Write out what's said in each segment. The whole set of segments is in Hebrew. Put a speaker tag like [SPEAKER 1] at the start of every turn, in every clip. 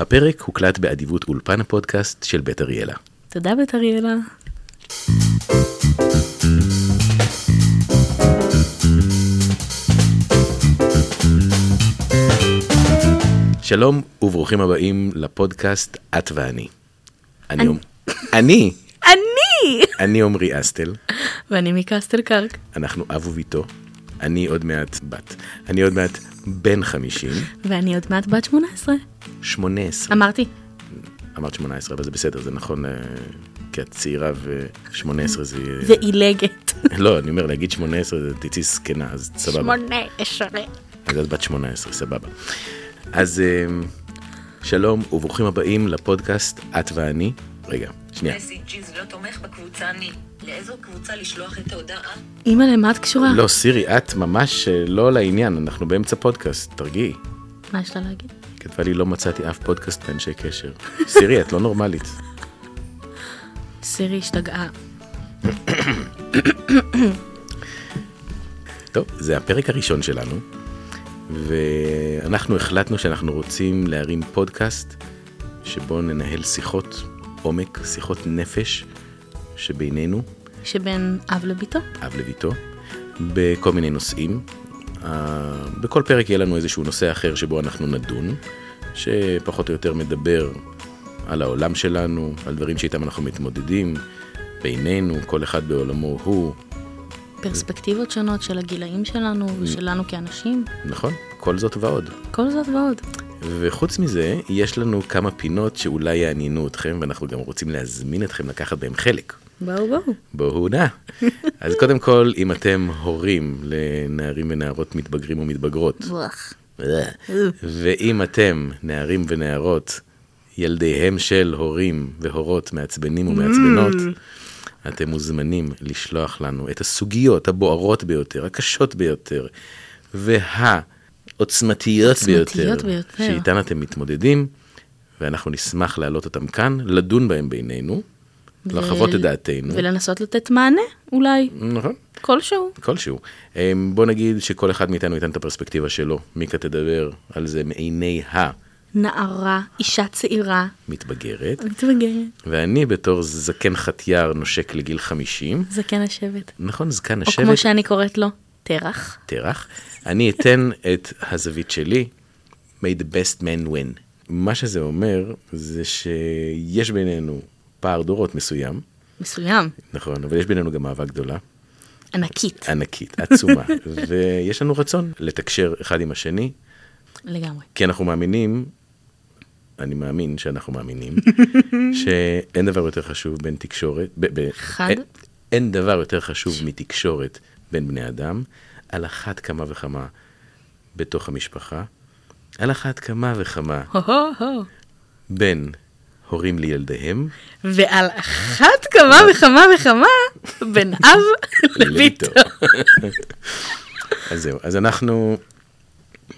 [SPEAKER 1] הפרק הוקלט באדיבות אולפן הפודקאסט של בית אריאלה.
[SPEAKER 2] תודה בית אריאלה.
[SPEAKER 1] שלום וברוכים הבאים לפודקאסט את ואני. אני, אני, אני,
[SPEAKER 2] אני!
[SPEAKER 1] אני עמרי אסטל,
[SPEAKER 2] ואני מקסטל קרק.
[SPEAKER 1] אנחנו אב וביתו, אני עוד מעט בת, אני עוד מעט בן 50,
[SPEAKER 2] ואני עוד מעט בת 18.
[SPEAKER 1] 18,
[SPEAKER 2] אמרתי.
[SPEAKER 1] אמרת 18, אבל זה בסדר, זה נכון, אה, כי את צעירה ו-18 זה... יהיה-
[SPEAKER 2] זה עילגת.
[SPEAKER 1] לא, אני אומר, להגיד 18 זה תצאי זקנה, אז סבבה.
[SPEAKER 2] שמונה עשרה.
[SPEAKER 1] אז את בת 18, סבבה. אז אה, שלום וברוכים הבאים לפודקאסט את ואני. רגע, שנייה.
[SPEAKER 3] SDGs לא תומך בקבוצה אני. לאיזו קבוצה לשלוח את ההודעה?
[SPEAKER 2] אימא, למה את קשורה?
[SPEAKER 1] לא, סירי, את ממש אה, לא לעניין, אנחנו באמצע פודקאסט, תרגיעי.
[SPEAKER 2] מה יש לה להגיד?
[SPEAKER 1] כתבה לי, לא מצאתי אף פודקאסט באנשי קשר. סירי, את לא נורמלית.
[SPEAKER 2] סירי השתגעה.
[SPEAKER 1] טוב, זה הפרק הראשון שלנו, ואנחנו החלטנו שאנחנו רוצים להרים פודקאסט שבו ננהל שיחות עומק, שיחות נפש, שבינינו,
[SPEAKER 2] שבין אב לביתו?
[SPEAKER 1] אב לביתו, בכל מיני נושאים. אה, בכל פרק יהיה לנו איזשהו נושא אחר שבו אנחנו נדון, שפחות או יותר מדבר על העולם שלנו, על דברים שאיתם אנחנו מתמודדים, בינינו, כל אחד בעולמו הוא,
[SPEAKER 2] פרספקטיבות שונות של הגילאים שלנו
[SPEAKER 1] Mm.
[SPEAKER 2] ושלנו כאנשים?
[SPEAKER 1] נכון? כל זאת ועוד.
[SPEAKER 2] כל זאת ועוד.
[SPEAKER 1] וחוץ מזה, יש לנו כמה פינות שאולי יעניינו אתכם, ואנחנו גם רוצים להזמין אתכם לקחת בהם חלק.
[SPEAKER 2] בואו בואו.
[SPEAKER 1] בואו נא. אז קודם כל, אם אתם הורים לנערים ונערות מתבגרים או מתבגרות,
[SPEAKER 2] וואח.
[SPEAKER 1] ואם אתם נערים ונערות, ילדיהם של הורים והורות מעצבנים ומעצבנות, אתם מוזמנים לשלוח לנו את הסוגיות הבוערות ביותר, הקשות ביותר, והעוצמתיות ביותר,
[SPEAKER 2] עוצמתיות ביותר.
[SPEAKER 1] שאיתן אתם מתמודדים, ואנחנו נשמח להעלות אותם כאן, לדון בהם בינינו, לחוות את דעתנו.
[SPEAKER 2] ולנסות לתת מענה, אולי,
[SPEAKER 1] נכון.
[SPEAKER 2] כלשהו.
[SPEAKER 1] כלשהו. אמ, בוא נגיד שכל אחד מאיתנו ייתן את הפרספקטיבה שלו. מיקה תדבר על זה מעיני
[SPEAKER 2] נערה, אישה צעירה,
[SPEAKER 1] המתבגרת,
[SPEAKER 2] מתבגרת,
[SPEAKER 1] ואני בתור זקן חטיאר נושק לגיל 50,
[SPEAKER 2] זקן השבט.
[SPEAKER 1] נכון, זקן
[SPEAKER 2] או כמו
[SPEAKER 1] השבט,
[SPEAKER 2] שאני קוראת לו, תרח.
[SPEAKER 1] תרח, אני אתן את הזווית שלי, may the best man win. מה שזה אומר, זה שיש בינינו פער דורות מסוים,
[SPEAKER 2] מסוים,
[SPEAKER 1] נכון, אבל יש בינינו גם אהבה גדולה.
[SPEAKER 2] ענקית,
[SPEAKER 1] ענקית, עצומה, ויש לנו רצון לתקשר אחד עם השני,
[SPEAKER 2] לגמרי.
[SPEAKER 1] כי אנחנו מאמינים, אני מאמין שאנחנו מאמינים, שאין דבר יותר חשוב בין תקשורת, ב- ב-
[SPEAKER 2] חד.
[SPEAKER 1] אין, אין דבר יותר חשוב מתקשורת בין בני אדם, על אחת כמה וכמה בתוך המשפחה, על אחת כמה וכמה
[SPEAKER 2] הו הו הו.
[SPEAKER 1] בין הורים לילדיהם,
[SPEAKER 2] ועל אחת כמה וכמה וכמה בין אב לביתו.
[SPEAKER 1] אז זהו, אז אנחנו...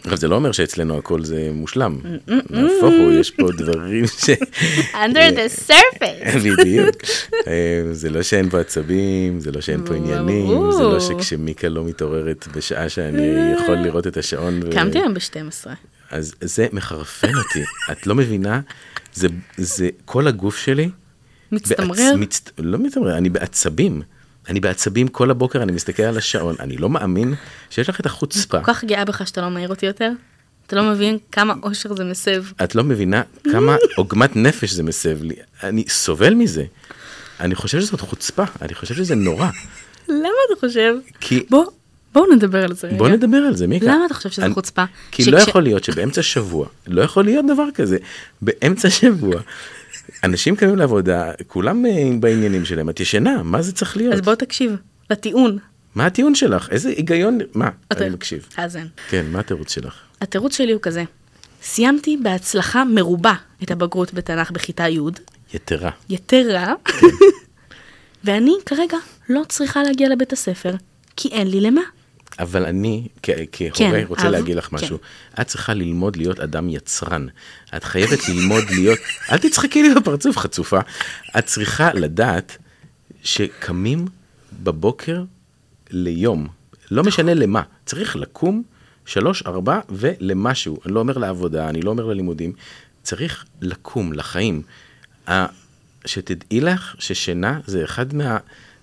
[SPEAKER 1] עכשיו, זה לא אומר שאצלנו הכל זה מושלם, נהפוך הוא, יש פה דברים ש...
[SPEAKER 2] under the surface.
[SPEAKER 1] בדיוק. אה, זה לא שאין פה עצבים, זה לא שאין פה עניינים, זה לא
[SPEAKER 2] ברור.
[SPEAKER 1] שכשמיקה לא מתעוררת בשעה שאני יכול לראות את השעון. ו-
[SPEAKER 2] קמתי היום ב-12.
[SPEAKER 1] אז זה מחרפן אותי, את לא מבינה? זה, זה כל הגוף שלי.
[SPEAKER 2] מצטמרר?
[SPEAKER 1] בעצ- מצט... לא מצטמרר, אני בעצבים. אני בעצבים כל הבוקר, אני מסתכל על השעון, אני לא מאמין שיש לך את החוצפה.
[SPEAKER 2] כל כך גאה בך שאתה לא מעיר אותי יותר. אתה לא מבין כמה אושר זה מסב.
[SPEAKER 1] את לא מבינה כמה עוגמת נפש זה מסב לי, אני סובל מזה. אני חושב שזאת חוצפה, אני חושב שזה נורא.
[SPEAKER 2] למה אתה חושב?
[SPEAKER 1] כי-
[SPEAKER 2] בוא, בואו נדבר על זה רגע.
[SPEAKER 1] בוא נדבר על זה, מיקה.
[SPEAKER 2] למה אתה חושב שזה
[SPEAKER 1] אני-
[SPEAKER 2] חוצפה?
[SPEAKER 1] כי
[SPEAKER 2] שכש-
[SPEAKER 1] לא יכול להיות שבאמצע שבוע, לא יכול להיות דבר כזה, באמצע שבוע, אנשים קמים לעבודה, כולם אה, בעניינים שלהם, את ישנה, מה זה צריך להיות?
[SPEAKER 2] אז בוא תקשיב לטיעון.
[SPEAKER 1] מה הטיעון שלך? איזה היגיון? מה?
[SPEAKER 2] אתה-
[SPEAKER 1] אני מקשיב.
[SPEAKER 2] האזן.
[SPEAKER 1] כן, מה התירוץ שלך?
[SPEAKER 2] התירוץ שלי הוא כזה. סיימתי בהצלחה מרובה את הבגרות בתנ"ך בכיתה י',
[SPEAKER 1] יתרה.
[SPEAKER 2] יתרה, ואני כרגע לא צריכה להגיע לבית הספר, כי אין לי למה.
[SPEAKER 1] אבל אני, כ- כהורה,
[SPEAKER 2] כן,
[SPEAKER 1] רוצה
[SPEAKER 2] אב,
[SPEAKER 1] להגיד לך
[SPEAKER 2] כן.
[SPEAKER 1] משהו. את צריכה ללמוד להיות אדם יצרן. את חייבת ללמוד להיות... אל תצחקי לי בפרצוף, חצופה. את צריכה לדעת שקמים בבוקר ליום, לא משנה למה. צריך לקום שלוש, ארבע ולמשהו. אני לא אומר לעבודה, אני לא אומר ללימודים. צריך לקום לחיים. ה- שתדעי לך ששינה זה אחד מה,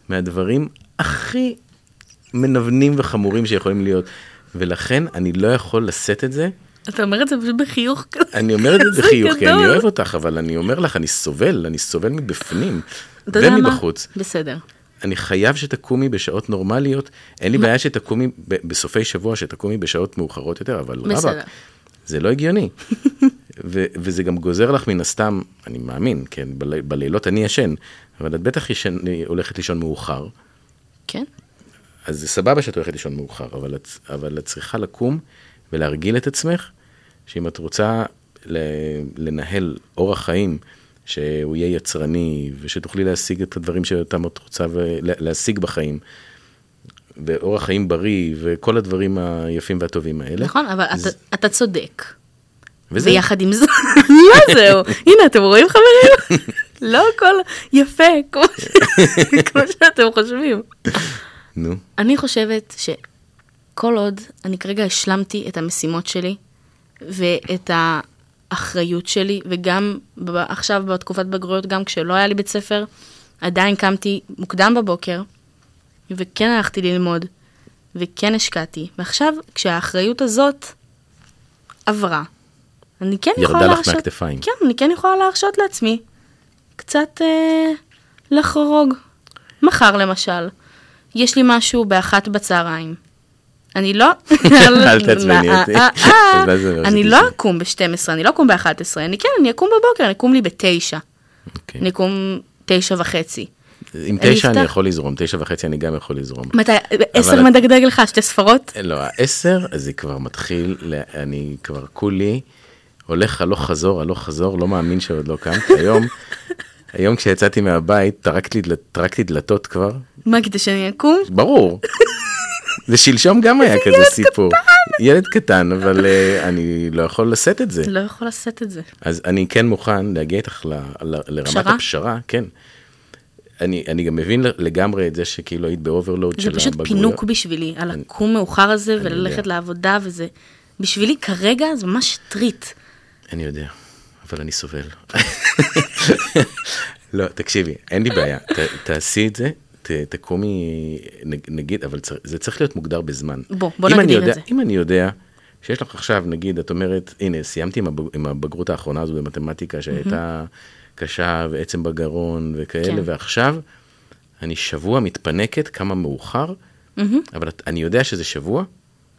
[SPEAKER 1] מהדברים הכי מנוונים וחמורים שיכולים להיות, ולכן אני לא יכול לשאת את זה.
[SPEAKER 2] אתה אומר את זה פשוט בחיוך כזה.
[SPEAKER 1] אני אומר את זה
[SPEAKER 2] כזה
[SPEAKER 1] בחיוך, כי אני
[SPEAKER 2] גדול.
[SPEAKER 1] אוהב אותך, אבל אני אומר לך, אני סובל, אני סובל מבפנים
[SPEAKER 2] אתה יודע מה?
[SPEAKER 1] ומבחוץ.
[SPEAKER 2] בסדר.
[SPEAKER 1] אני חייב שתקומי בשעות נורמליות, אין לי בעיה שתקומי ב- בסופי שבוע, שתקומי בשעות מאוחרות יותר, אבל
[SPEAKER 2] בסדר.
[SPEAKER 1] רבאק, זה לא הגיוני. ו- וזה גם גוזר לך מן הסתם, אני מאמין, כן, בלי- בלילות אני ישן, אבל את בטח ישן, הולכת לישון מאוחר,
[SPEAKER 2] כן?
[SPEAKER 1] אז זה סבבה שאת הולכת לישון מאוחר, אבל את, אבל את צריכה לקום ולהרגיל את עצמך, שאם את רוצה ל, לנהל אורח חיים, שהוא יהיה יצרני, ושתוכלי להשיג את הדברים שאותם את רוצה ו- לה- להשיג בחיים, ואורח חיים בריא, וכל הדברים היפים והטובים האלה.
[SPEAKER 2] נכון, אבל אתה-
[SPEAKER 1] זה-
[SPEAKER 2] אתה צודק.
[SPEAKER 1] וזה-
[SPEAKER 2] ויחד עם זאת, לא זהו. הנה, אתם רואים חברים? לא הכל יפה כמו ש- כמו שאתם חושבים.
[SPEAKER 1] נו,
[SPEAKER 2] אני חושבת שכל עוד אני כרגע השלמתי את המשימות שלי ואת האחריות שלי, וגם ב- עכשיו בתקופת בגרויות, גם כשלא היה לי בית ספר, עדיין קמתי מוקדם בבוקר, וכן הלכתי ללמוד, וכן השקעתי. ועכשיו, כשהאחריות הזאת עברה, אני כן
[SPEAKER 1] ירדה
[SPEAKER 2] יכולה
[SPEAKER 1] לך
[SPEAKER 2] להרשות...
[SPEAKER 1] מהכתפיים.
[SPEAKER 2] כן, אני כן יכולה להרשות לעצמי קצת אה, לחרוג. מחר למשל, יש לי משהו באחת בצהריים. אני לא...
[SPEAKER 1] אל תעצבני אותי.
[SPEAKER 2] אה, אה, אה.
[SPEAKER 1] אז מה זה אומר
[SPEAKER 2] אני
[SPEAKER 1] שתשמעי?
[SPEAKER 2] לא אקום ב-12, אני לא אקום ב-11, אני כן, אני אקום בבוקר, אני אקום לי ב-9,
[SPEAKER 1] אוקיי.
[SPEAKER 2] אני אקום 9 וחצי.
[SPEAKER 1] עם תשע אני
[SPEAKER 2] אפתח-
[SPEAKER 1] יכול לזרום, תשע וחצי אני גם יכול לזרום.
[SPEAKER 2] מתי, 10
[SPEAKER 1] את-
[SPEAKER 2] מדגדג לך, שתי ספרות?
[SPEAKER 1] לא, העשר, אז זה כבר מתחיל, ל- אני כבר כולי הולך הלוך חזור, הלוך חזור, לא מאמין שעוד לא קמת. היום, היום כשיצאתי מהבית, טרקתי, דל- טרקתי דלתות כבר,
[SPEAKER 2] מה, כדי שאני אקום?
[SPEAKER 1] ברור. זה שלשום גם היה כזה סיפור. ילד קטן, אבל אה, אני לא יכול לשאת את זה.
[SPEAKER 2] לא יכול לשאת את זה.
[SPEAKER 1] אז אני כן מוכן להגיע איתך ל, ל, לרמת
[SPEAKER 2] פשרה?
[SPEAKER 1] הפשרה, כן. אני, אני גם מבין לגמרי את זה שכאילו היית באוברלוד של
[SPEAKER 2] זה
[SPEAKER 1] הבגרויות.
[SPEAKER 2] פשוט פינוק בשבילי, על הקום מאוחר הזה וללכת
[SPEAKER 1] יודע.
[SPEAKER 2] לעבודה וזה. בשבילי כרגע זה ממש טריט.
[SPEAKER 1] אני יודע, אבל אני סובל. לא, תקשיבי, אין לי בעיה, ת, תעשי את זה, ת, תקומי, נג- נגיד, אבל צר, זה צריך להיות מוגדר בזמן.
[SPEAKER 2] בוא, בוא
[SPEAKER 1] אם אני
[SPEAKER 2] נגדיר את
[SPEAKER 1] יודע,
[SPEAKER 2] זה.
[SPEAKER 1] אם אני יודע שיש לך עכשיו, נגיד, את אומרת, הנה, סיימתי עם, הבג, עם הבגרות האחרונה הזו במתמטיקה, שהייתה קשה ועצם בגרון וכאלה,
[SPEAKER 2] כן.
[SPEAKER 1] ועכשיו אני שבוע מתפנקת, כמה מאוחר, אבל את- אני יודע שזה שבוע.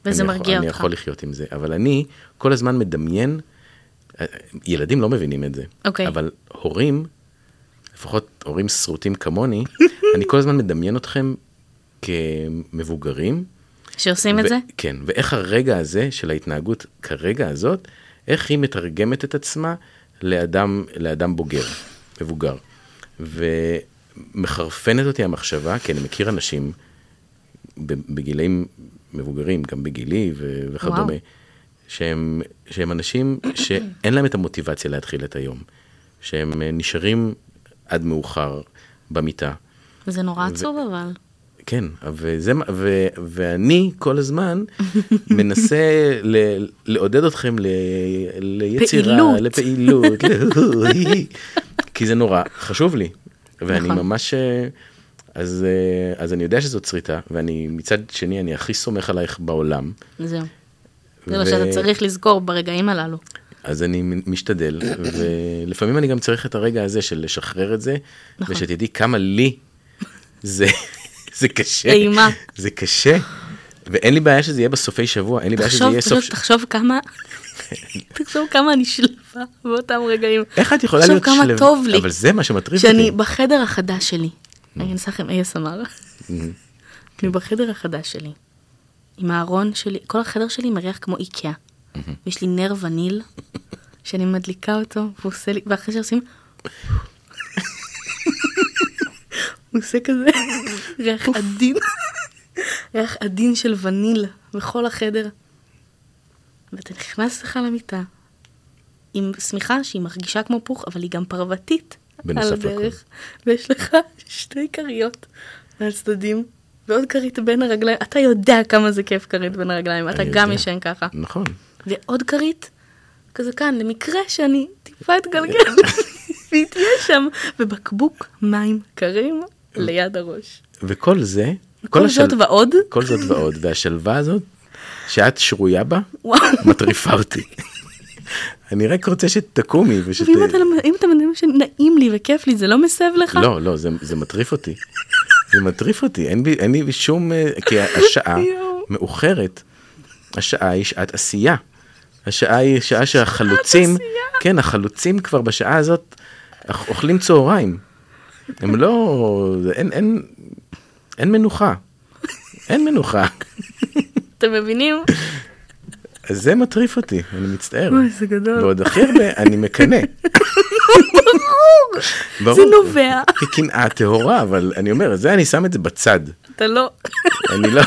[SPEAKER 2] וזה
[SPEAKER 1] אני
[SPEAKER 2] מרגיע
[SPEAKER 1] יכול, אני
[SPEAKER 2] אותך.
[SPEAKER 1] יכול לחיות עם זה, אבל אני כל הזמן מדמיין, ילדים לא מבינים את זה,
[SPEAKER 2] אוקיי.
[SPEAKER 1] אבל הורים, לפחות הורים שרוטים כמוני, אני כל הזמן מדמיין אתכם כמבוגרים.
[SPEAKER 2] שעושים את
[SPEAKER 1] ו-
[SPEAKER 2] זה?
[SPEAKER 1] כן, ואיך הרגע הזה של ההתנהגות כרגע הזאת, איך היא מתרגמת את עצמה לאדם, לאדם בוגר, מבוגר. ומחרפנת אותי המחשבה, כי אני מכיר אנשים ב- בגילאים מבוגרים, גם בגילי ו- וכדומה,
[SPEAKER 2] וואו.
[SPEAKER 1] שהם, שהם אנשים שאין להם את המוטיבציה להתחיל את היום, שהם אה, נשארים עד מאוחר במיטה.
[SPEAKER 2] זה נורא עצוב אבל.
[SPEAKER 1] כן, וזה, מה- ו, ואני כל הזמן מנסה ל, לעודד אתכם ל, ליצירה,
[SPEAKER 2] פעילות.
[SPEAKER 1] לפעילות, ל- כי זה נורא חשוב לי, ואני
[SPEAKER 2] נכון.
[SPEAKER 1] ממש, אה, אז, אה, אז אני יודע שזאת צריטה, ואני מצד שני, אני הכי סומך עלייך בעולם,
[SPEAKER 2] זהו. זה מה
[SPEAKER 1] ו-
[SPEAKER 2] שאתה צריך לזכור ברגעים הללו.
[SPEAKER 1] אז אני משתדל, ולפעמים אני גם צריך את הרגע הזה של לשחרר את זה,
[SPEAKER 2] נכון.
[SPEAKER 1] ושתדעי כמה לי זה, זה קשה.
[SPEAKER 2] אימה.
[SPEAKER 1] זה קשה, ואין לי בעיה שזה יהיה בסופי שבוע, אין לי בעיה שזה
[SPEAKER 2] תחשוב,
[SPEAKER 1] יהיה סוף...
[SPEAKER 2] פשוט תחשוב כמה, תחשוב כמה אני שלווה באותם רגעים.
[SPEAKER 1] איך את יכולה
[SPEAKER 2] תחשוב
[SPEAKER 1] להיות
[SPEAKER 2] כמה
[SPEAKER 1] שלו-
[SPEAKER 2] טוב לי.
[SPEAKER 1] אבל זה מה שמטריף אה, אותי.
[SPEAKER 2] שאני בחדר החדש שלי, אני אנסה לכם ASMR, אני בחדר החדש שלי, עם הארון שלי, כל החדר שלי מריח כמו איקאה, ויש לי נר וניל, שאני מדליקה אותו, והוא עושה לי, ואחרי שעושים, הוא עושה כזה ריח עדין, ריח עדין של וניל בכל החדר. ואתה נכנס לך למיטה, עם שמיכה שהיא מרגישה כמו פוך, אבל היא גם פרוותית.
[SPEAKER 1] בנוסף
[SPEAKER 2] על
[SPEAKER 1] לכל.
[SPEAKER 2] הדרך, ויש לך שתי כריות מהצדדים, ועוד כרית בין הרגליים. אתה יודע כמה זה כיף כרית בין הרגליים, אתה
[SPEAKER 1] אני
[SPEAKER 2] גם
[SPEAKER 1] יודע.
[SPEAKER 2] ישן ככה.
[SPEAKER 1] נכון.
[SPEAKER 2] ועוד כרית, כזה כאן, למקרה שאני טיפה אתגלגל, והיא תהיה שם, ובקבוק מים קרים ליד הראש.
[SPEAKER 1] וכל זה,
[SPEAKER 2] כל זאת ועוד,
[SPEAKER 1] כל זאת ועוד, והשלווה הזאת, שאת שרויה בה,
[SPEAKER 2] וואו.
[SPEAKER 1] מטריפה אותי. אני רק רוצה שתקומי ושת...
[SPEAKER 2] ואם אתה, לא אם אתה מבין שנעים לי וכיף לי, זה לא מסב לך?
[SPEAKER 1] אה, לא, לא, זה, זה מטריף אותי. זה מטריף אותי, אין בי, אין לי שום... אה, כי השעה
[SPEAKER 2] יואו.
[SPEAKER 1] מאוחרת, השעה היא שעת עשייה. השעה היא שעה שהחלוצים,
[SPEAKER 2] עשייה.
[SPEAKER 1] כן, החלוצים כבר בשעה הזאת אכ- אוכלים צהריים. הם לא... אין, אין, אין מנוחה. אין מנוחה.
[SPEAKER 2] אתם מבינים?
[SPEAKER 1] אז זה מטריף אותי, אני מצטער.
[SPEAKER 2] אוי, זה גדול.
[SPEAKER 1] ועוד הכי הרבה, אני מקנא. ברור.
[SPEAKER 2] זה לא נובע.
[SPEAKER 1] כקנאה טהורה, אבל אני אומר, זה אני שם את זה בצד.
[SPEAKER 2] אתה לא...
[SPEAKER 1] אני לא...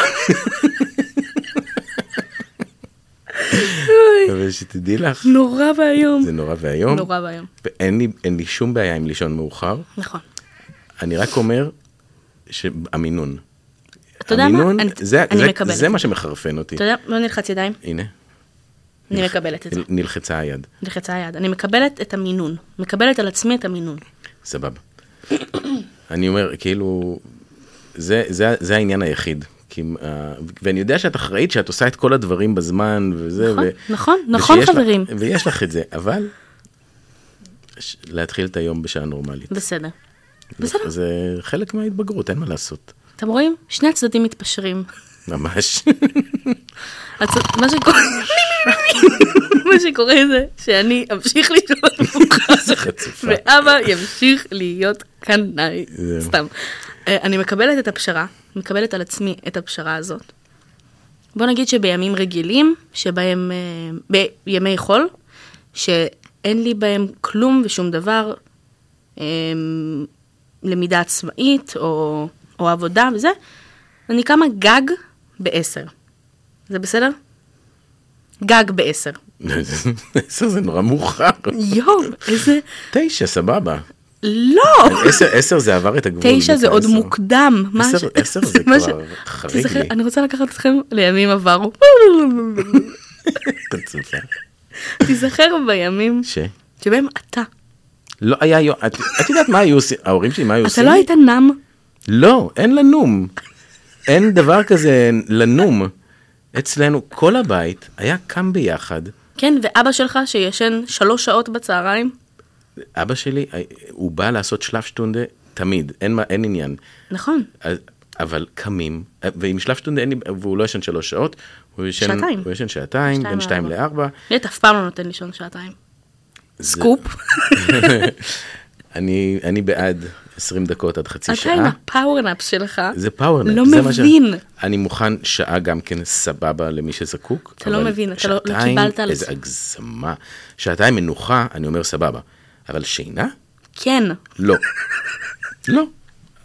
[SPEAKER 1] אבל שתדעי לך,
[SPEAKER 2] נורא ואיום.
[SPEAKER 1] זה נורא ואיום,
[SPEAKER 2] נורא ואיום.
[SPEAKER 1] ואין לי, אין לי שום בעיה עם לישון מאוחר,
[SPEAKER 2] נכון.
[SPEAKER 1] אני רק אומר שהמינון.
[SPEAKER 2] אתה יודע מה?
[SPEAKER 1] המינון,
[SPEAKER 2] אני-
[SPEAKER 1] זה,
[SPEAKER 2] אני
[SPEAKER 1] זה,
[SPEAKER 2] מקבלת.
[SPEAKER 1] זה מה שמחרפן אותי.
[SPEAKER 2] אתה יודע, לא נלחץ ידיים,
[SPEAKER 1] הנה,
[SPEAKER 2] אני מקבלת את
[SPEAKER 1] כן.
[SPEAKER 2] זה.
[SPEAKER 1] נלחצה היד,
[SPEAKER 2] נלחצה היד. אני מקבלת את המינון. מקבלת על עצמי את המינון.
[SPEAKER 1] סבבה. אני אומר, כאילו, זה, זה, זה העניין היחיד. כי, uh, ואני יודע שאת אחראית שאת עושה את כל הדברים בזמן וזה.
[SPEAKER 2] נכון,
[SPEAKER 1] ו...
[SPEAKER 2] נכון, נכון,
[SPEAKER 1] ושיש לך-
[SPEAKER 2] חברים.
[SPEAKER 1] ויש לך את זה, אבל ש... להתחיל את היום בשעה נורמלית.
[SPEAKER 2] בסדר. בסדר.
[SPEAKER 1] זה חלק מההתבגרות, אין מה לעשות.
[SPEAKER 2] אתם רואים? שני הצדדים מתפשרים.
[SPEAKER 1] ממש.
[SPEAKER 2] הצ- מה שקורה... מה שקורה זה שאני אמשיך לישון מאוחר,
[SPEAKER 1] חצופה.
[SPEAKER 2] ואבא ימשיך להיות קנאי,
[SPEAKER 1] זהו.
[SPEAKER 2] סתם. אה, אני מקבלת את הפשרה, מקבלת על עצמי את הפשרה הזאת. בוא נגיד שבימים רגילים, שבהם, אה, בימי חול, שאין לי בהם כלום ושום דבר, אה, למידה עצמאית או, או עבודה וזה, אני קמה גג בעשר. זה בסדר? גג בעשר.
[SPEAKER 1] עשר זה נורא מאוחר.
[SPEAKER 2] יואו, איזה...
[SPEAKER 1] תשע, סבבה.
[SPEAKER 2] לא!
[SPEAKER 1] עשר, עשר זה עבר את הגבול.
[SPEAKER 2] תשע זה
[SPEAKER 1] דווקא
[SPEAKER 2] עוד
[SPEAKER 1] עשר.
[SPEAKER 2] מוקדם. מה
[SPEAKER 1] עשר-
[SPEAKER 2] ש-
[SPEAKER 1] עשר זה
[SPEAKER 2] מה
[SPEAKER 1] כבר חריג
[SPEAKER 2] תיזכר,
[SPEAKER 1] לי.
[SPEAKER 2] אני רוצה לקחת אתכם לימים עברו.
[SPEAKER 1] חצופה.
[SPEAKER 2] תיזכר בימים
[SPEAKER 1] ש?
[SPEAKER 2] שבהם אתה.
[SPEAKER 1] לא היה יום, את, את יודעת מה היו עושים, ההורים שלי מה היו עושים?
[SPEAKER 2] אתה לא היית נם.
[SPEAKER 1] לא, אין לנום. אין דבר כזה לנום. אצלנו כל הבית היה קם ביחד.
[SPEAKER 2] כן, ואבא שלך שישן שלוש שעות בצהריים.
[SPEAKER 1] אבא שלי, אה, הוא בא לעשות שלפשטונדה תמיד, אין, מה, אין עניין.
[SPEAKER 2] נכון.
[SPEAKER 1] אז- אבל קמים, אה, ועם שלפשטונדה אין לי, והוא לא ישן שלוש שעות, הוא ישן
[SPEAKER 2] שעתיים.
[SPEAKER 1] הוא ישן שעתיים
[SPEAKER 2] שתיים
[SPEAKER 1] בין שתיים
[SPEAKER 2] לארבע.
[SPEAKER 1] לארבע.
[SPEAKER 2] נט אף פעם לא נותן לישון שעתיים.
[SPEAKER 1] זה-
[SPEAKER 2] סקופ.
[SPEAKER 1] אני, אני בעד 20 דקות עד חצי
[SPEAKER 2] אתה
[SPEAKER 1] שעה.
[SPEAKER 2] עם הפאוורנאפ שלך.
[SPEAKER 1] זה פאוורנט.
[SPEAKER 2] לא
[SPEAKER 1] זה מה ש-
[SPEAKER 2] מבין.
[SPEAKER 1] אני מוכן שעה גם כן סבבה למי שזקוק.
[SPEAKER 2] אתה לא
[SPEAKER 1] אבל
[SPEAKER 2] מבין, אתה לא- לא
[SPEAKER 1] שעתיים,
[SPEAKER 2] קיבלת על
[SPEAKER 1] איזה
[SPEAKER 2] זה.
[SPEAKER 1] הגזמה. שעתיים מנוחה, אני אומר סבבה. אבל שינה?
[SPEAKER 2] כן.
[SPEAKER 1] לא. לא.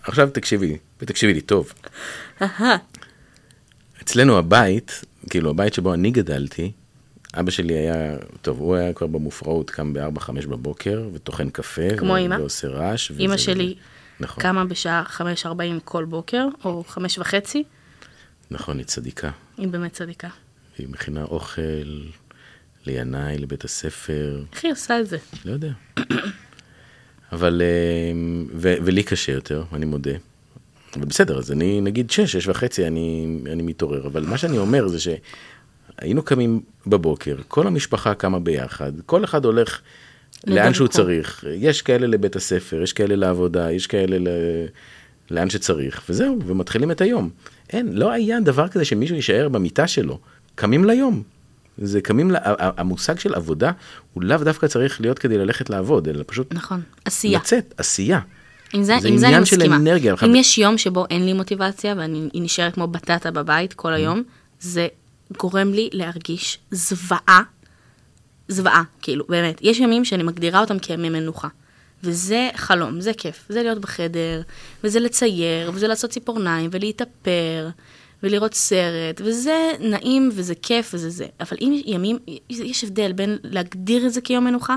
[SPEAKER 1] עכשיו תקשיבי, ותקשיבי לי טוב.
[SPEAKER 2] אהה.
[SPEAKER 1] נכון. אצלנו הבית, כאילו הבית שבו אני גדלתי, אבא שלי היה, טוב, הוא היה כבר במופרעות, קם ב-4-5 בבוקר, וטוחן קפה.
[SPEAKER 2] כמו
[SPEAKER 1] ו-
[SPEAKER 2] אמא.
[SPEAKER 1] ועושה רעש.
[SPEAKER 2] אימא
[SPEAKER 1] וזה-
[SPEAKER 2] שלי
[SPEAKER 1] נכון,
[SPEAKER 2] קמה בשעה 5.40 כל בוקר, או 5.30,
[SPEAKER 1] נכון, היא צדיקה.
[SPEAKER 2] היא באמת צדיקה.
[SPEAKER 1] היא מכינה אוכל לינאי, לבית הספר,
[SPEAKER 2] איך היא עושה את זה?
[SPEAKER 1] לא יודע. אבל, אמ, ו- ולי קשה יותר, אני מודה. אבל בסדר, אז אני נגיד שש, שש וחצי, אני, אני מתעורר. אבל מה שאני אומר זה שהיינו קמים בבוקר, כל המשפחה קמה ביחד, כל אחד הולך לאן
[SPEAKER 2] לדרכו.
[SPEAKER 1] שהוא צריך. יש כאלה לבית הספר, יש כאלה לעבודה, יש כאלה ל... לאן שצריך, וזהו, ומתחילים את היום. אין, לא היה דבר כזה שמישהו יישאר במיטה שלו. קמים ליום. זה קמים, ל... ה- ה- המושג של עבודה הוא לאו דווקא צריך להיות כדי ללכת לעבוד, אלא פשוט
[SPEAKER 2] נכון. עשייה.
[SPEAKER 1] לצאת, עשייה.
[SPEAKER 2] עם זה,
[SPEAKER 1] זה
[SPEAKER 2] עם זה אני
[SPEAKER 1] עניין של
[SPEAKER 2] מסכימה.
[SPEAKER 1] אנרגיה, לך-
[SPEAKER 2] אם יש יום שבו אין לי מוטיבציה ואני היא נשארת כמו בטטה בבית
[SPEAKER 1] Mm-hmm.
[SPEAKER 2] כל היום, זה גורם לי להרגיש זוועה, זוועה, כאילו, באמת. יש ימים שאני מגדירה אותם כימי מנוחה. וזה חלום, זה כיף. זה להיות בחדר, וזה לצייר, וזה לעשות ציפורניים, ולהתאפר, ולראות סרט, וזה נעים, וזה כיף, וזה זה. אבל אם יש ימים, יש הבדל בין להגדיר את זה כיום מנוחה,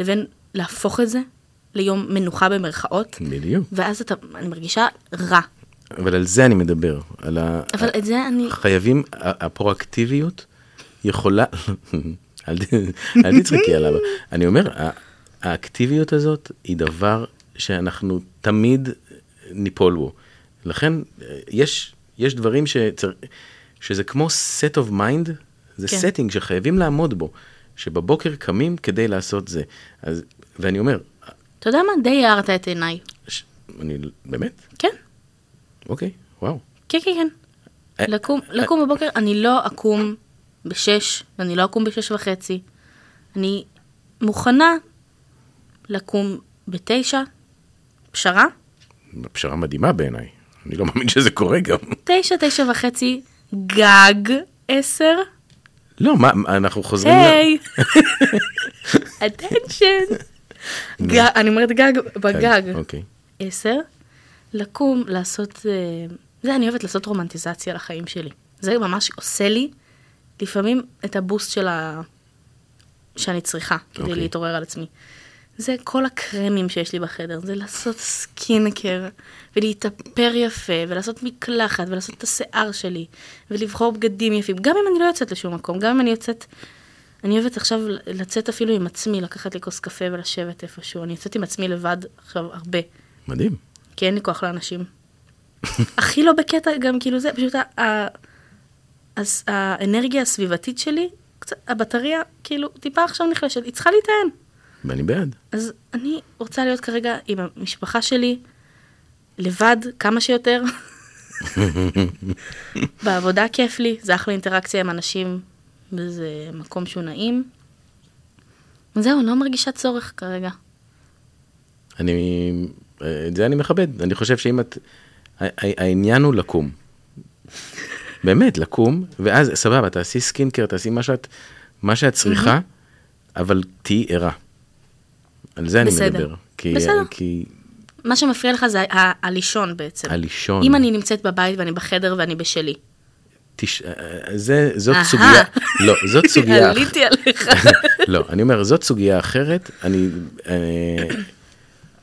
[SPEAKER 2] לבין להפוך את זה ליום מנוחה
[SPEAKER 1] כן.
[SPEAKER 2] במרכאות.
[SPEAKER 1] בדיוק.
[SPEAKER 2] ואז אתה, אני מרגישה רע.
[SPEAKER 1] אבל על זה אני מדבר, על ה...
[SPEAKER 2] אבל את זה אני...
[SPEAKER 1] חייבים, ה- הפרואקטיביות יכולה, אל ת- אל תצחקי עליו. אני אומר, ה- האקטיביות הזאת היא דבר שאנחנו תמיד ניפול בו. לכן, אה, יש, יש דברים שצר... שזה כמו set of mind, זה
[SPEAKER 2] כן.
[SPEAKER 1] setting שחייבים לעמוד בו, שבבוקר קמים כדי לעשות זה. אז, ואני אומר,
[SPEAKER 2] אתה יודע מה? די הארת את עיניי.
[SPEAKER 1] ש... אני, באמת?
[SPEAKER 2] כן,
[SPEAKER 1] אוקיי, וואו.
[SPEAKER 2] כן, כן, כן.
[SPEAKER 1] אה,
[SPEAKER 2] לקום, לקום בבוקר, אני לא אקום בשש, ואני לא אקום בשש וחצי. אני מוכנה לקום בתשע, פשרה,
[SPEAKER 1] פשרה מדהימה בעיניי. אני לא מאמין שזה קורה גם.
[SPEAKER 2] תשע, תשע וחצי, גג עשר,
[SPEAKER 1] לא, מה, מה, אנחנו חוזרים... ל-
[SPEAKER 2] היי, attention. גג- אני אומרת גג, בגג,
[SPEAKER 1] לא. אוקיי.
[SPEAKER 2] עשר, לקום, לעשות, אה, זה אני אוהבת לעשות רומנטיזציה לחיים שלי. זה ממש עושה לי לפעמים את הבוסט של ה... שאני צריכה כדי
[SPEAKER 1] אוקיי.
[SPEAKER 2] להתעורר על עצמי. זה כל הקרמים שיש לי בחדר, זה לעשות סקינקר, ולהתאפר יפה, ולעשות מקלחת, ולעשות את השיער שלי, ולבחור בגדים יפים, גם אם אני לא יוצאת לשום מקום, גם אם אני יוצאת... אני אוהבת עכשיו לצאת אפילו עם עצמי, לקחת לי כוס קפה ולשבת איפשהו. אני יוצאת עם עצמי לבד עכשיו הרבה.
[SPEAKER 1] מדהים.
[SPEAKER 2] כי אין לי כוח לאנשים. הכי לא בקטע גם כאילו זה, פשוט ה- ה- הס- האנרגיה הסביבתית שלי, קצת, הבטריה כאילו טיפה עכשיו נחלשת, היא צריכה להיטען.
[SPEAKER 1] ואני בעד.
[SPEAKER 2] אז אני רוצה להיות כרגע עם המשפחה שלי, לבד, כמה שיותר. בעבודה כיף לי, זה אחלה אינטראקציה עם אנשים, וזה מקום שהוא נעים. זהו, לא מרגישה צורך כרגע.
[SPEAKER 1] אני, אה, את זה אני מכבד. אני חושב שאם את, ה- ה- העניין הוא לקום. באמת, לקום, ואז סבבה, תעשי סקינקר, תעשי מה שאת, מה שאת צריכה, אבל תהיי ערה. על זה אני
[SPEAKER 2] בסדר.
[SPEAKER 1] מדבר. כי, אה,
[SPEAKER 2] בסדר.
[SPEAKER 1] כי
[SPEAKER 2] מה שמפריע לך זה ה- ה- הלישון בעצם.
[SPEAKER 1] הלישון,
[SPEAKER 2] אם אני נמצאת בבית ואני בחדר ואני בשלי.
[SPEAKER 1] תש... אה, זה, זאת
[SPEAKER 2] אהה.
[SPEAKER 1] סוגיה, לא, זאת סוגיה, אח-
[SPEAKER 2] עליתי עליך.
[SPEAKER 1] לא, אני אומר, זאת סוגיה אחרת. אני, אה,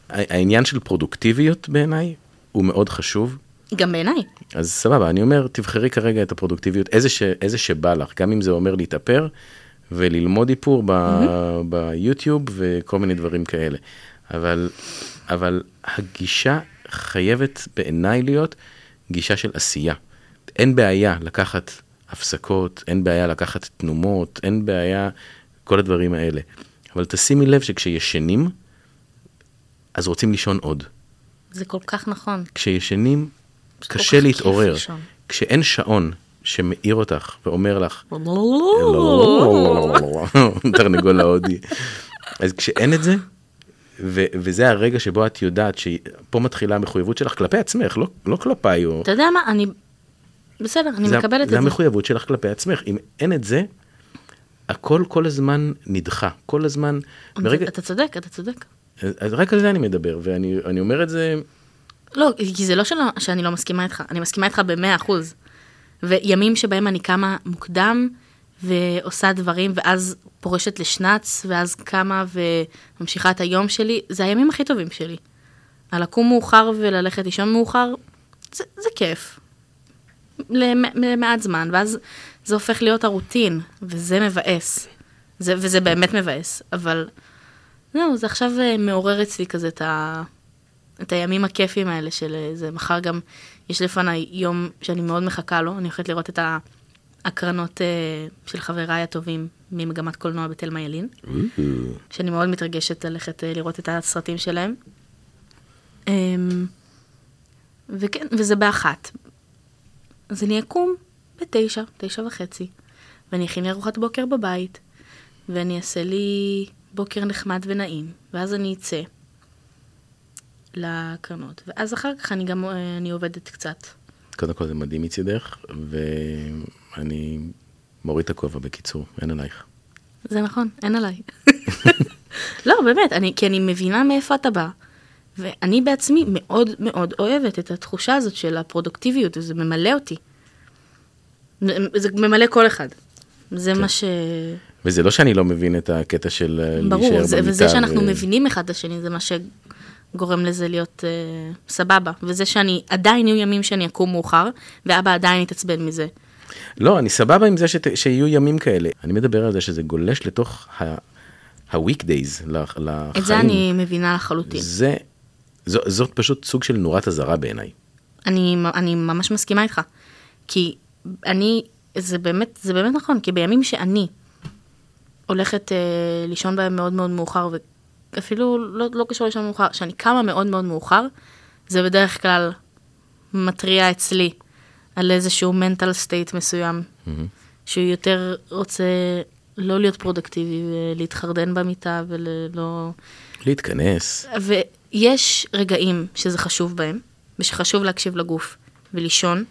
[SPEAKER 1] העניין של פרודוקטיביות בעיניי הוא מאוד חשוב.
[SPEAKER 2] גם בעיניי.
[SPEAKER 1] אז סבבה, אני אומר, תבחרי כרגע את הפרודוקטיביות, איזה, ש, איזה שבא לך, גם אם זה אומר להתאפר וללמוד איפור ב, ביוטיוב וכל מיני דברים כאלה. אבל, אבל הגישה חייבת בעיניי להיות גישה של עשייה. אין בעיה לקחת הפסקות, אין בעיה לקחת תנומות, אין בעיה, כל הדברים האלה. אבל תשימי לב שכשישנים, אז רוצים לישון עוד.
[SPEAKER 2] זה כל כך נכון.
[SPEAKER 1] כשישנים,
[SPEAKER 2] כל כך
[SPEAKER 1] קשה
[SPEAKER 2] כיף
[SPEAKER 1] להתעורר.
[SPEAKER 2] לישון.
[SPEAKER 1] כשאין שעון שמאיר אותך ואומר לך, "לא, תרנגול ההודי. אז כשאין את זה, ו- וזה הרגע שבו את יודעת שפה מתחילה המחויבות שלך כלפי עצמך, לא, לא כלפיי. או...
[SPEAKER 2] אתה יודע מה, אני... בסדר, אני
[SPEAKER 1] זה-
[SPEAKER 2] מקבלת את
[SPEAKER 1] זה
[SPEAKER 2] זה.
[SPEAKER 1] המחויבות שלך כלפי עצמך. אם אין את זה, הכל כל הזמן נדחה. כל הזמן, ברגע...
[SPEAKER 2] אתה צודק, אתה צודק.
[SPEAKER 1] אז אז רק על זה אני מדבר, ואני אני אומר את זה,
[SPEAKER 2] לא, כי זה לא שלא- שאני לא מסכימה איתך, אני מסכימה איתך במאה אחוז. וימים שבהם אני קמה מוקדם ועושה דברים, ואז פורשת לשנץ, ואז קמה וממשיכה את היום שלי, זה הימים הכי טובים שלי. הלקום מאוחר וללכת לישון מאוחר, זה, זה כיף. למ- למעט זמן, ואז זה הופך להיות הרוטין, וזה מבאס. זה, וזה באמת מבאס, אבל זהו, זה עכשיו אה, מעורר אצלי כזה את, ה, את הימים הכיפים האלה של אה, זה. מחר גם יש לפניי יום שאני מאוד מחכה לו, אני הולכת לראות את ההקרנות אה, של חבריי הטובים ממגמת קולנוע בתלמה ילין. שאני מאוד מתרגשת ללכת אה, לראות את הסרטים שלהם. אמ, וכן, וזה באחת. אז אני אקום בתשע, תשע וחצי, ואני אכין לי ארוחת בוקר בבית, ואני אעשה לי בוקר נחמד ונעים, ואז אני אצא לקרנות, ואז אחר כך אני גם אה, אני עובדת קצת.
[SPEAKER 1] קודם כל זה מדהים מצידך, ואני מוריד את הכובע בקיצור, אין עלייך.
[SPEAKER 2] זה נכון, אין עליי. לא, באמת, אני, כי אני מבינה מאיפה אתה בא, ואני בעצמי מאוד מאוד אוהבת את התחושה הזאת של הפרודוקטיביות, וזה ממלא אותי. זה ממלא כל אחד. זה
[SPEAKER 1] כן.
[SPEAKER 2] מה ש...
[SPEAKER 1] וזה לא שאני לא מבין את הקטע של אה, להישאר במיטה.
[SPEAKER 2] ברור, זה, וזה שאנחנו
[SPEAKER 1] ו-
[SPEAKER 2] מבינים אחד את השני, זה מה שגורם לזה להיות אה, סבבה. וזה שאני, עדיין יהיו ימים שאני אקום מאוחר, ואבא עדיין יתעצבן מזה.
[SPEAKER 1] לא, אני סבבה עם זה שת, שיהיו ימים כאלה. אני מדבר על זה שזה גולש לתוך ה-weekdays, לחיים.
[SPEAKER 2] את זה אני מבינה לחלוטין.
[SPEAKER 1] זה, זו, זאת פשוט סוג של נורת אזהרה בעיניי.
[SPEAKER 2] אני, אני ממש מסכימה איתך. כי אני, זה באמת, זה באמת נכון, כי בימים שאני הולכת אה, לישון בהם מאוד מאוד מאוחר, ואפילו לא, לא קשור לישון מאוחר, שאני קמה מאוד מאוד מאוחר, זה בדרך כלל מתריע אצלי על איזשהו mental state מסוים, mm-hmm. שהוא יותר רוצה לא להיות פרודקטיבי ולהתחרדן במיטה ולא...
[SPEAKER 1] להתכנס.
[SPEAKER 2] ויש רגעים שזה חשוב בהם, ושחשוב להקשיב לגוף ולישון,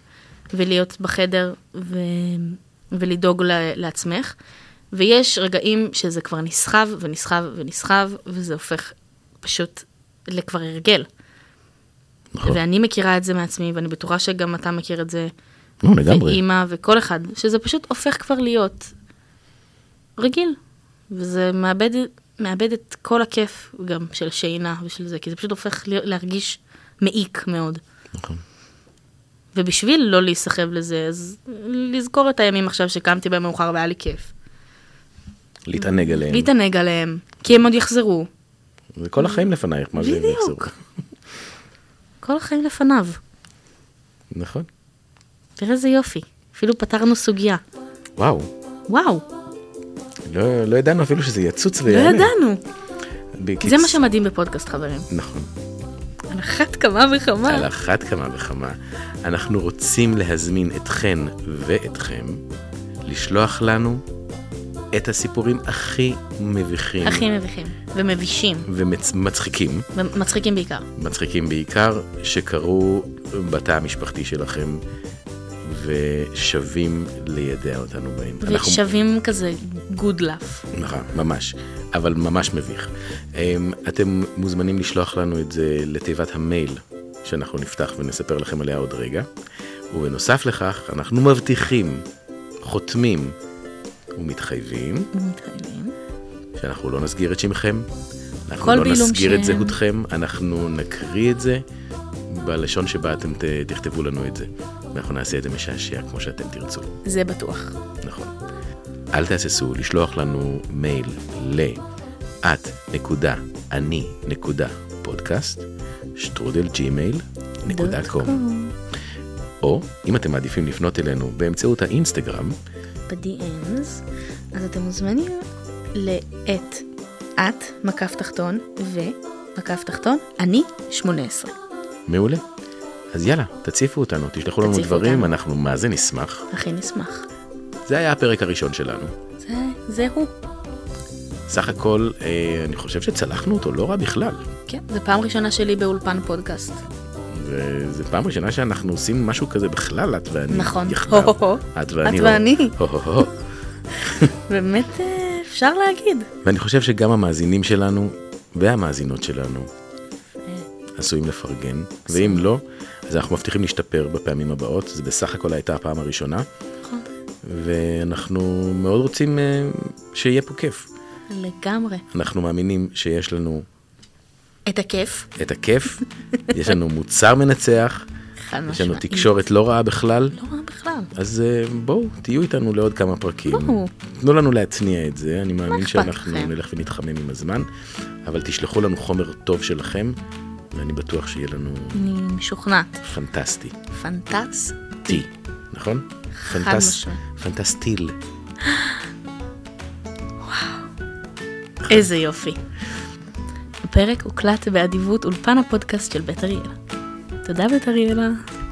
[SPEAKER 2] ולהיות בחדר ו... ולדאוג ל- לעצמך, ויש רגעים שזה כבר נסחב ונסחב ונסחב, וזה הופך פשוט לכבר הרגל.
[SPEAKER 1] נכון.
[SPEAKER 2] ואני מכירה את זה מעצמי, ואני בטוחה שגם אתה מכיר את זה.
[SPEAKER 1] לא, לגמרי.
[SPEAKER 2] ואימא וכל אחד, שזה פשוט הופך כבר להיות רגיל. וזה מאבד, מאבד את כל הכיף גם של שינה ושל זה, כי זה פשוט הופך להיות, להרגיש מעיק מאוד.
[SPEAKER 1] נכון.
[SPEAKER 2] ובשביל לא להיסחב לזה, אז לזכור את הימים עכשיו שקמתי בהם מאוחר והיה לי כיף.
[SPEAKER 1] להתענג עליהם.
[SPEAKER 2] להתענג עליהם, כי הם עוד יחזרו.
[SPEAKER 1] וכל החיים לפנייך, מה זה הם יחזרו.
[SPEAKER 2] בדיוק. כל החיים לפניו.
[SPEAKER 1] נכון.
[SPEAKER 2] תראה איזה יופי, אפילו פתרנו סוגיה.
[SPEAKER 1] וואו,
[SPEAKER 2] וואו,
[SPEAKER 1] לא, לא ידענו אפילו שזה יצוץ
[SPEAKER 2] לא
[SPEAKER 1] ויעלה.
[SPEAKER 2] ידענו.
[SPEAKER 1] בקיצ-
[SPEAKER 2] זה מה שמדהים בפודקאסט, חברים.
[SPEAKER 1] נכון.
[SPEAKER 2] על אחת כמה וכמה.
[SPEAKER 1] על אחת כמה וכמה, אנחנו רוצים להזמין אתכן ואתכם לשלוח לנו את הסיפורים הכי מביכים
[SPEAKER 2] הכי מביכים, ומבישים,
[SPEAKER 1] ומצחיקים,
[SPEAKER 2] ומצחיקים בעיקר.
[SPEAKER 1] מצחיקים בעיקר, שקרו בתא המשפחתי שלכם ושווים לידע אותנו בהם. אנחנו-
[SPEAKER 2] ושווים כזה good love.
[SPEAKER 1] נכון, ממש, אבל ממש מביך. אמ, אתם מוזמנים לשלוח לנו את זה לתיבת המייל שאנחנו נפתח ונספר לכם עליה עוד רגע. ובנוסף לכך, אנחנו מבטיחים, חותמים ומתחייבים
[SPEAKER 2] מתחייבים.
[SPEAKER 1] שאנחנו לא נסגיר את שמכם, אנחנו
[SPEAKER 2] כל
[SPEAKER 1] לא
[SPEAKER 2] בעילום
[SPEAKER 1] נסגיר את
[SPEAKER 2] שם.
[SPEAKER 1] זהותכם, אנחנו נקריא את זה בלשון שבה אתם ת, תכתבו לנו את זה. ואנחנו נעשה את זה משעשע כמו שאתם תרצו.
[SPEAKER 2] זה בטוח.
[SPEAKER 1] נכון. אל תהססו לשלוח לנו מייל ל... את נקודה אני נקודה פודקאסט, שטרודל ג'ימייל נקודה קום. או אם אתם מעדיפים לפנות אלינו באמצעות האינסטגרם,
[SPEAKER 2] ב-DMs, אז אתם מוזמנים לאת, את, מקף תחתון, ומקף תחתון, אני 18.
[SPEAKER 1] מעולה. אז יאללה, תציפו אותנו, תשלחו לנו
[SPEAKER 2] תציפו
[SPEAKER 1] דברים,
[SPEAKER 2] אותנו.
[SPEAKER 1] אנחנו מה זה נשמח.
[SPEAKER 2] הכי נשמח.
[SPEAKER 1] זה היה הפרק הראשון שלנו.
[SPEAKER 2] זה, זה הוא.
[SPEAKER 1] סך הכל, אה, אני חושב שצלחנו אותו לא רע בכלל.
[SPEAKER 2] כן, זו פעם ראשונה שלי באולפן פודקאסט.
[SPEAKER 1] וזו פעם ראשונה שאנחנו עושים משהו כזה בכלל, את ואני
[SPEAKER 2] נכון.
[SPEAKER 1] יחדיו.
[SPEAKER 2] הו-הו-הו.
[SPEAKER 1] את ואני. לא.
[SPEAKER 2] את
[SPEAKER 1] הו.
[SPEAKER 2] ואני.
[SPEAKER 1] הו-הו-הו.
[SPEAKER 2] באמת אה, אפשר להגיד.
[SPEAKER 1] ואני חושב שגם המאזינים שלנו והמאזינות שלנו עשויים לפרגן, ואם לא, אז אנחנו מבטיחים להשתפר בפעמים הבאות, זה בסך הכל הייתה הפעם הראשונה,
[SPEAKER 2] נכון.
[SPEAKER 1] ואנחנו מאוד רוצים אה, שיהיה פה כיף.
[SPEAKER 2] לגמרי.
[SPEAKER 1] אנחנו מאמינים שיש לנו
[SPEAKER 2] את הכיף.
[SPEAKER 1] את הכיף, יש לנו מוצר מנצח,
[SPEAKER 2] חד
[SPEAKER 1] יש לנו
[SPEAKER 2] משמעית.
[SPEAKER 1] תקשורת לא רעה בכלל,
[SPEAKER 2] לא רע בכלל.
[SPEAKER 1] אז אה, בואו, תהיו איתנו לעוד כמה פרקים.
[SPEAKER 2] בואו.
[SPEAKER 1] תנו לנו להתניע את זה, אני מאמין
[SPEAKER 2] אכפת
[SPEAKER 1] שאנחנו
[SPEAKER 2] לכם?
[SPEAKER 1] נלך ונתחמם עם הזמן, אבל תשלחו לנו חומר טוב שלכם, ואני בטוח שיהיה לנו
[SPEAKER 2] אני משוכנעת.
[SPEAKER 1] פנטסטי.
[SPEAKER 2] פנטס.
[SPEAKER 1] טי, נכון?
[SPEAKER 2] משמעית.
[SPEAKER 1] פנטסטיל.
[SPEAKER 2] איזה יופי. הפרק הוקלט באדיבות אולפן הפודקאסט של בית אריאלה. תודה בית אריאלה.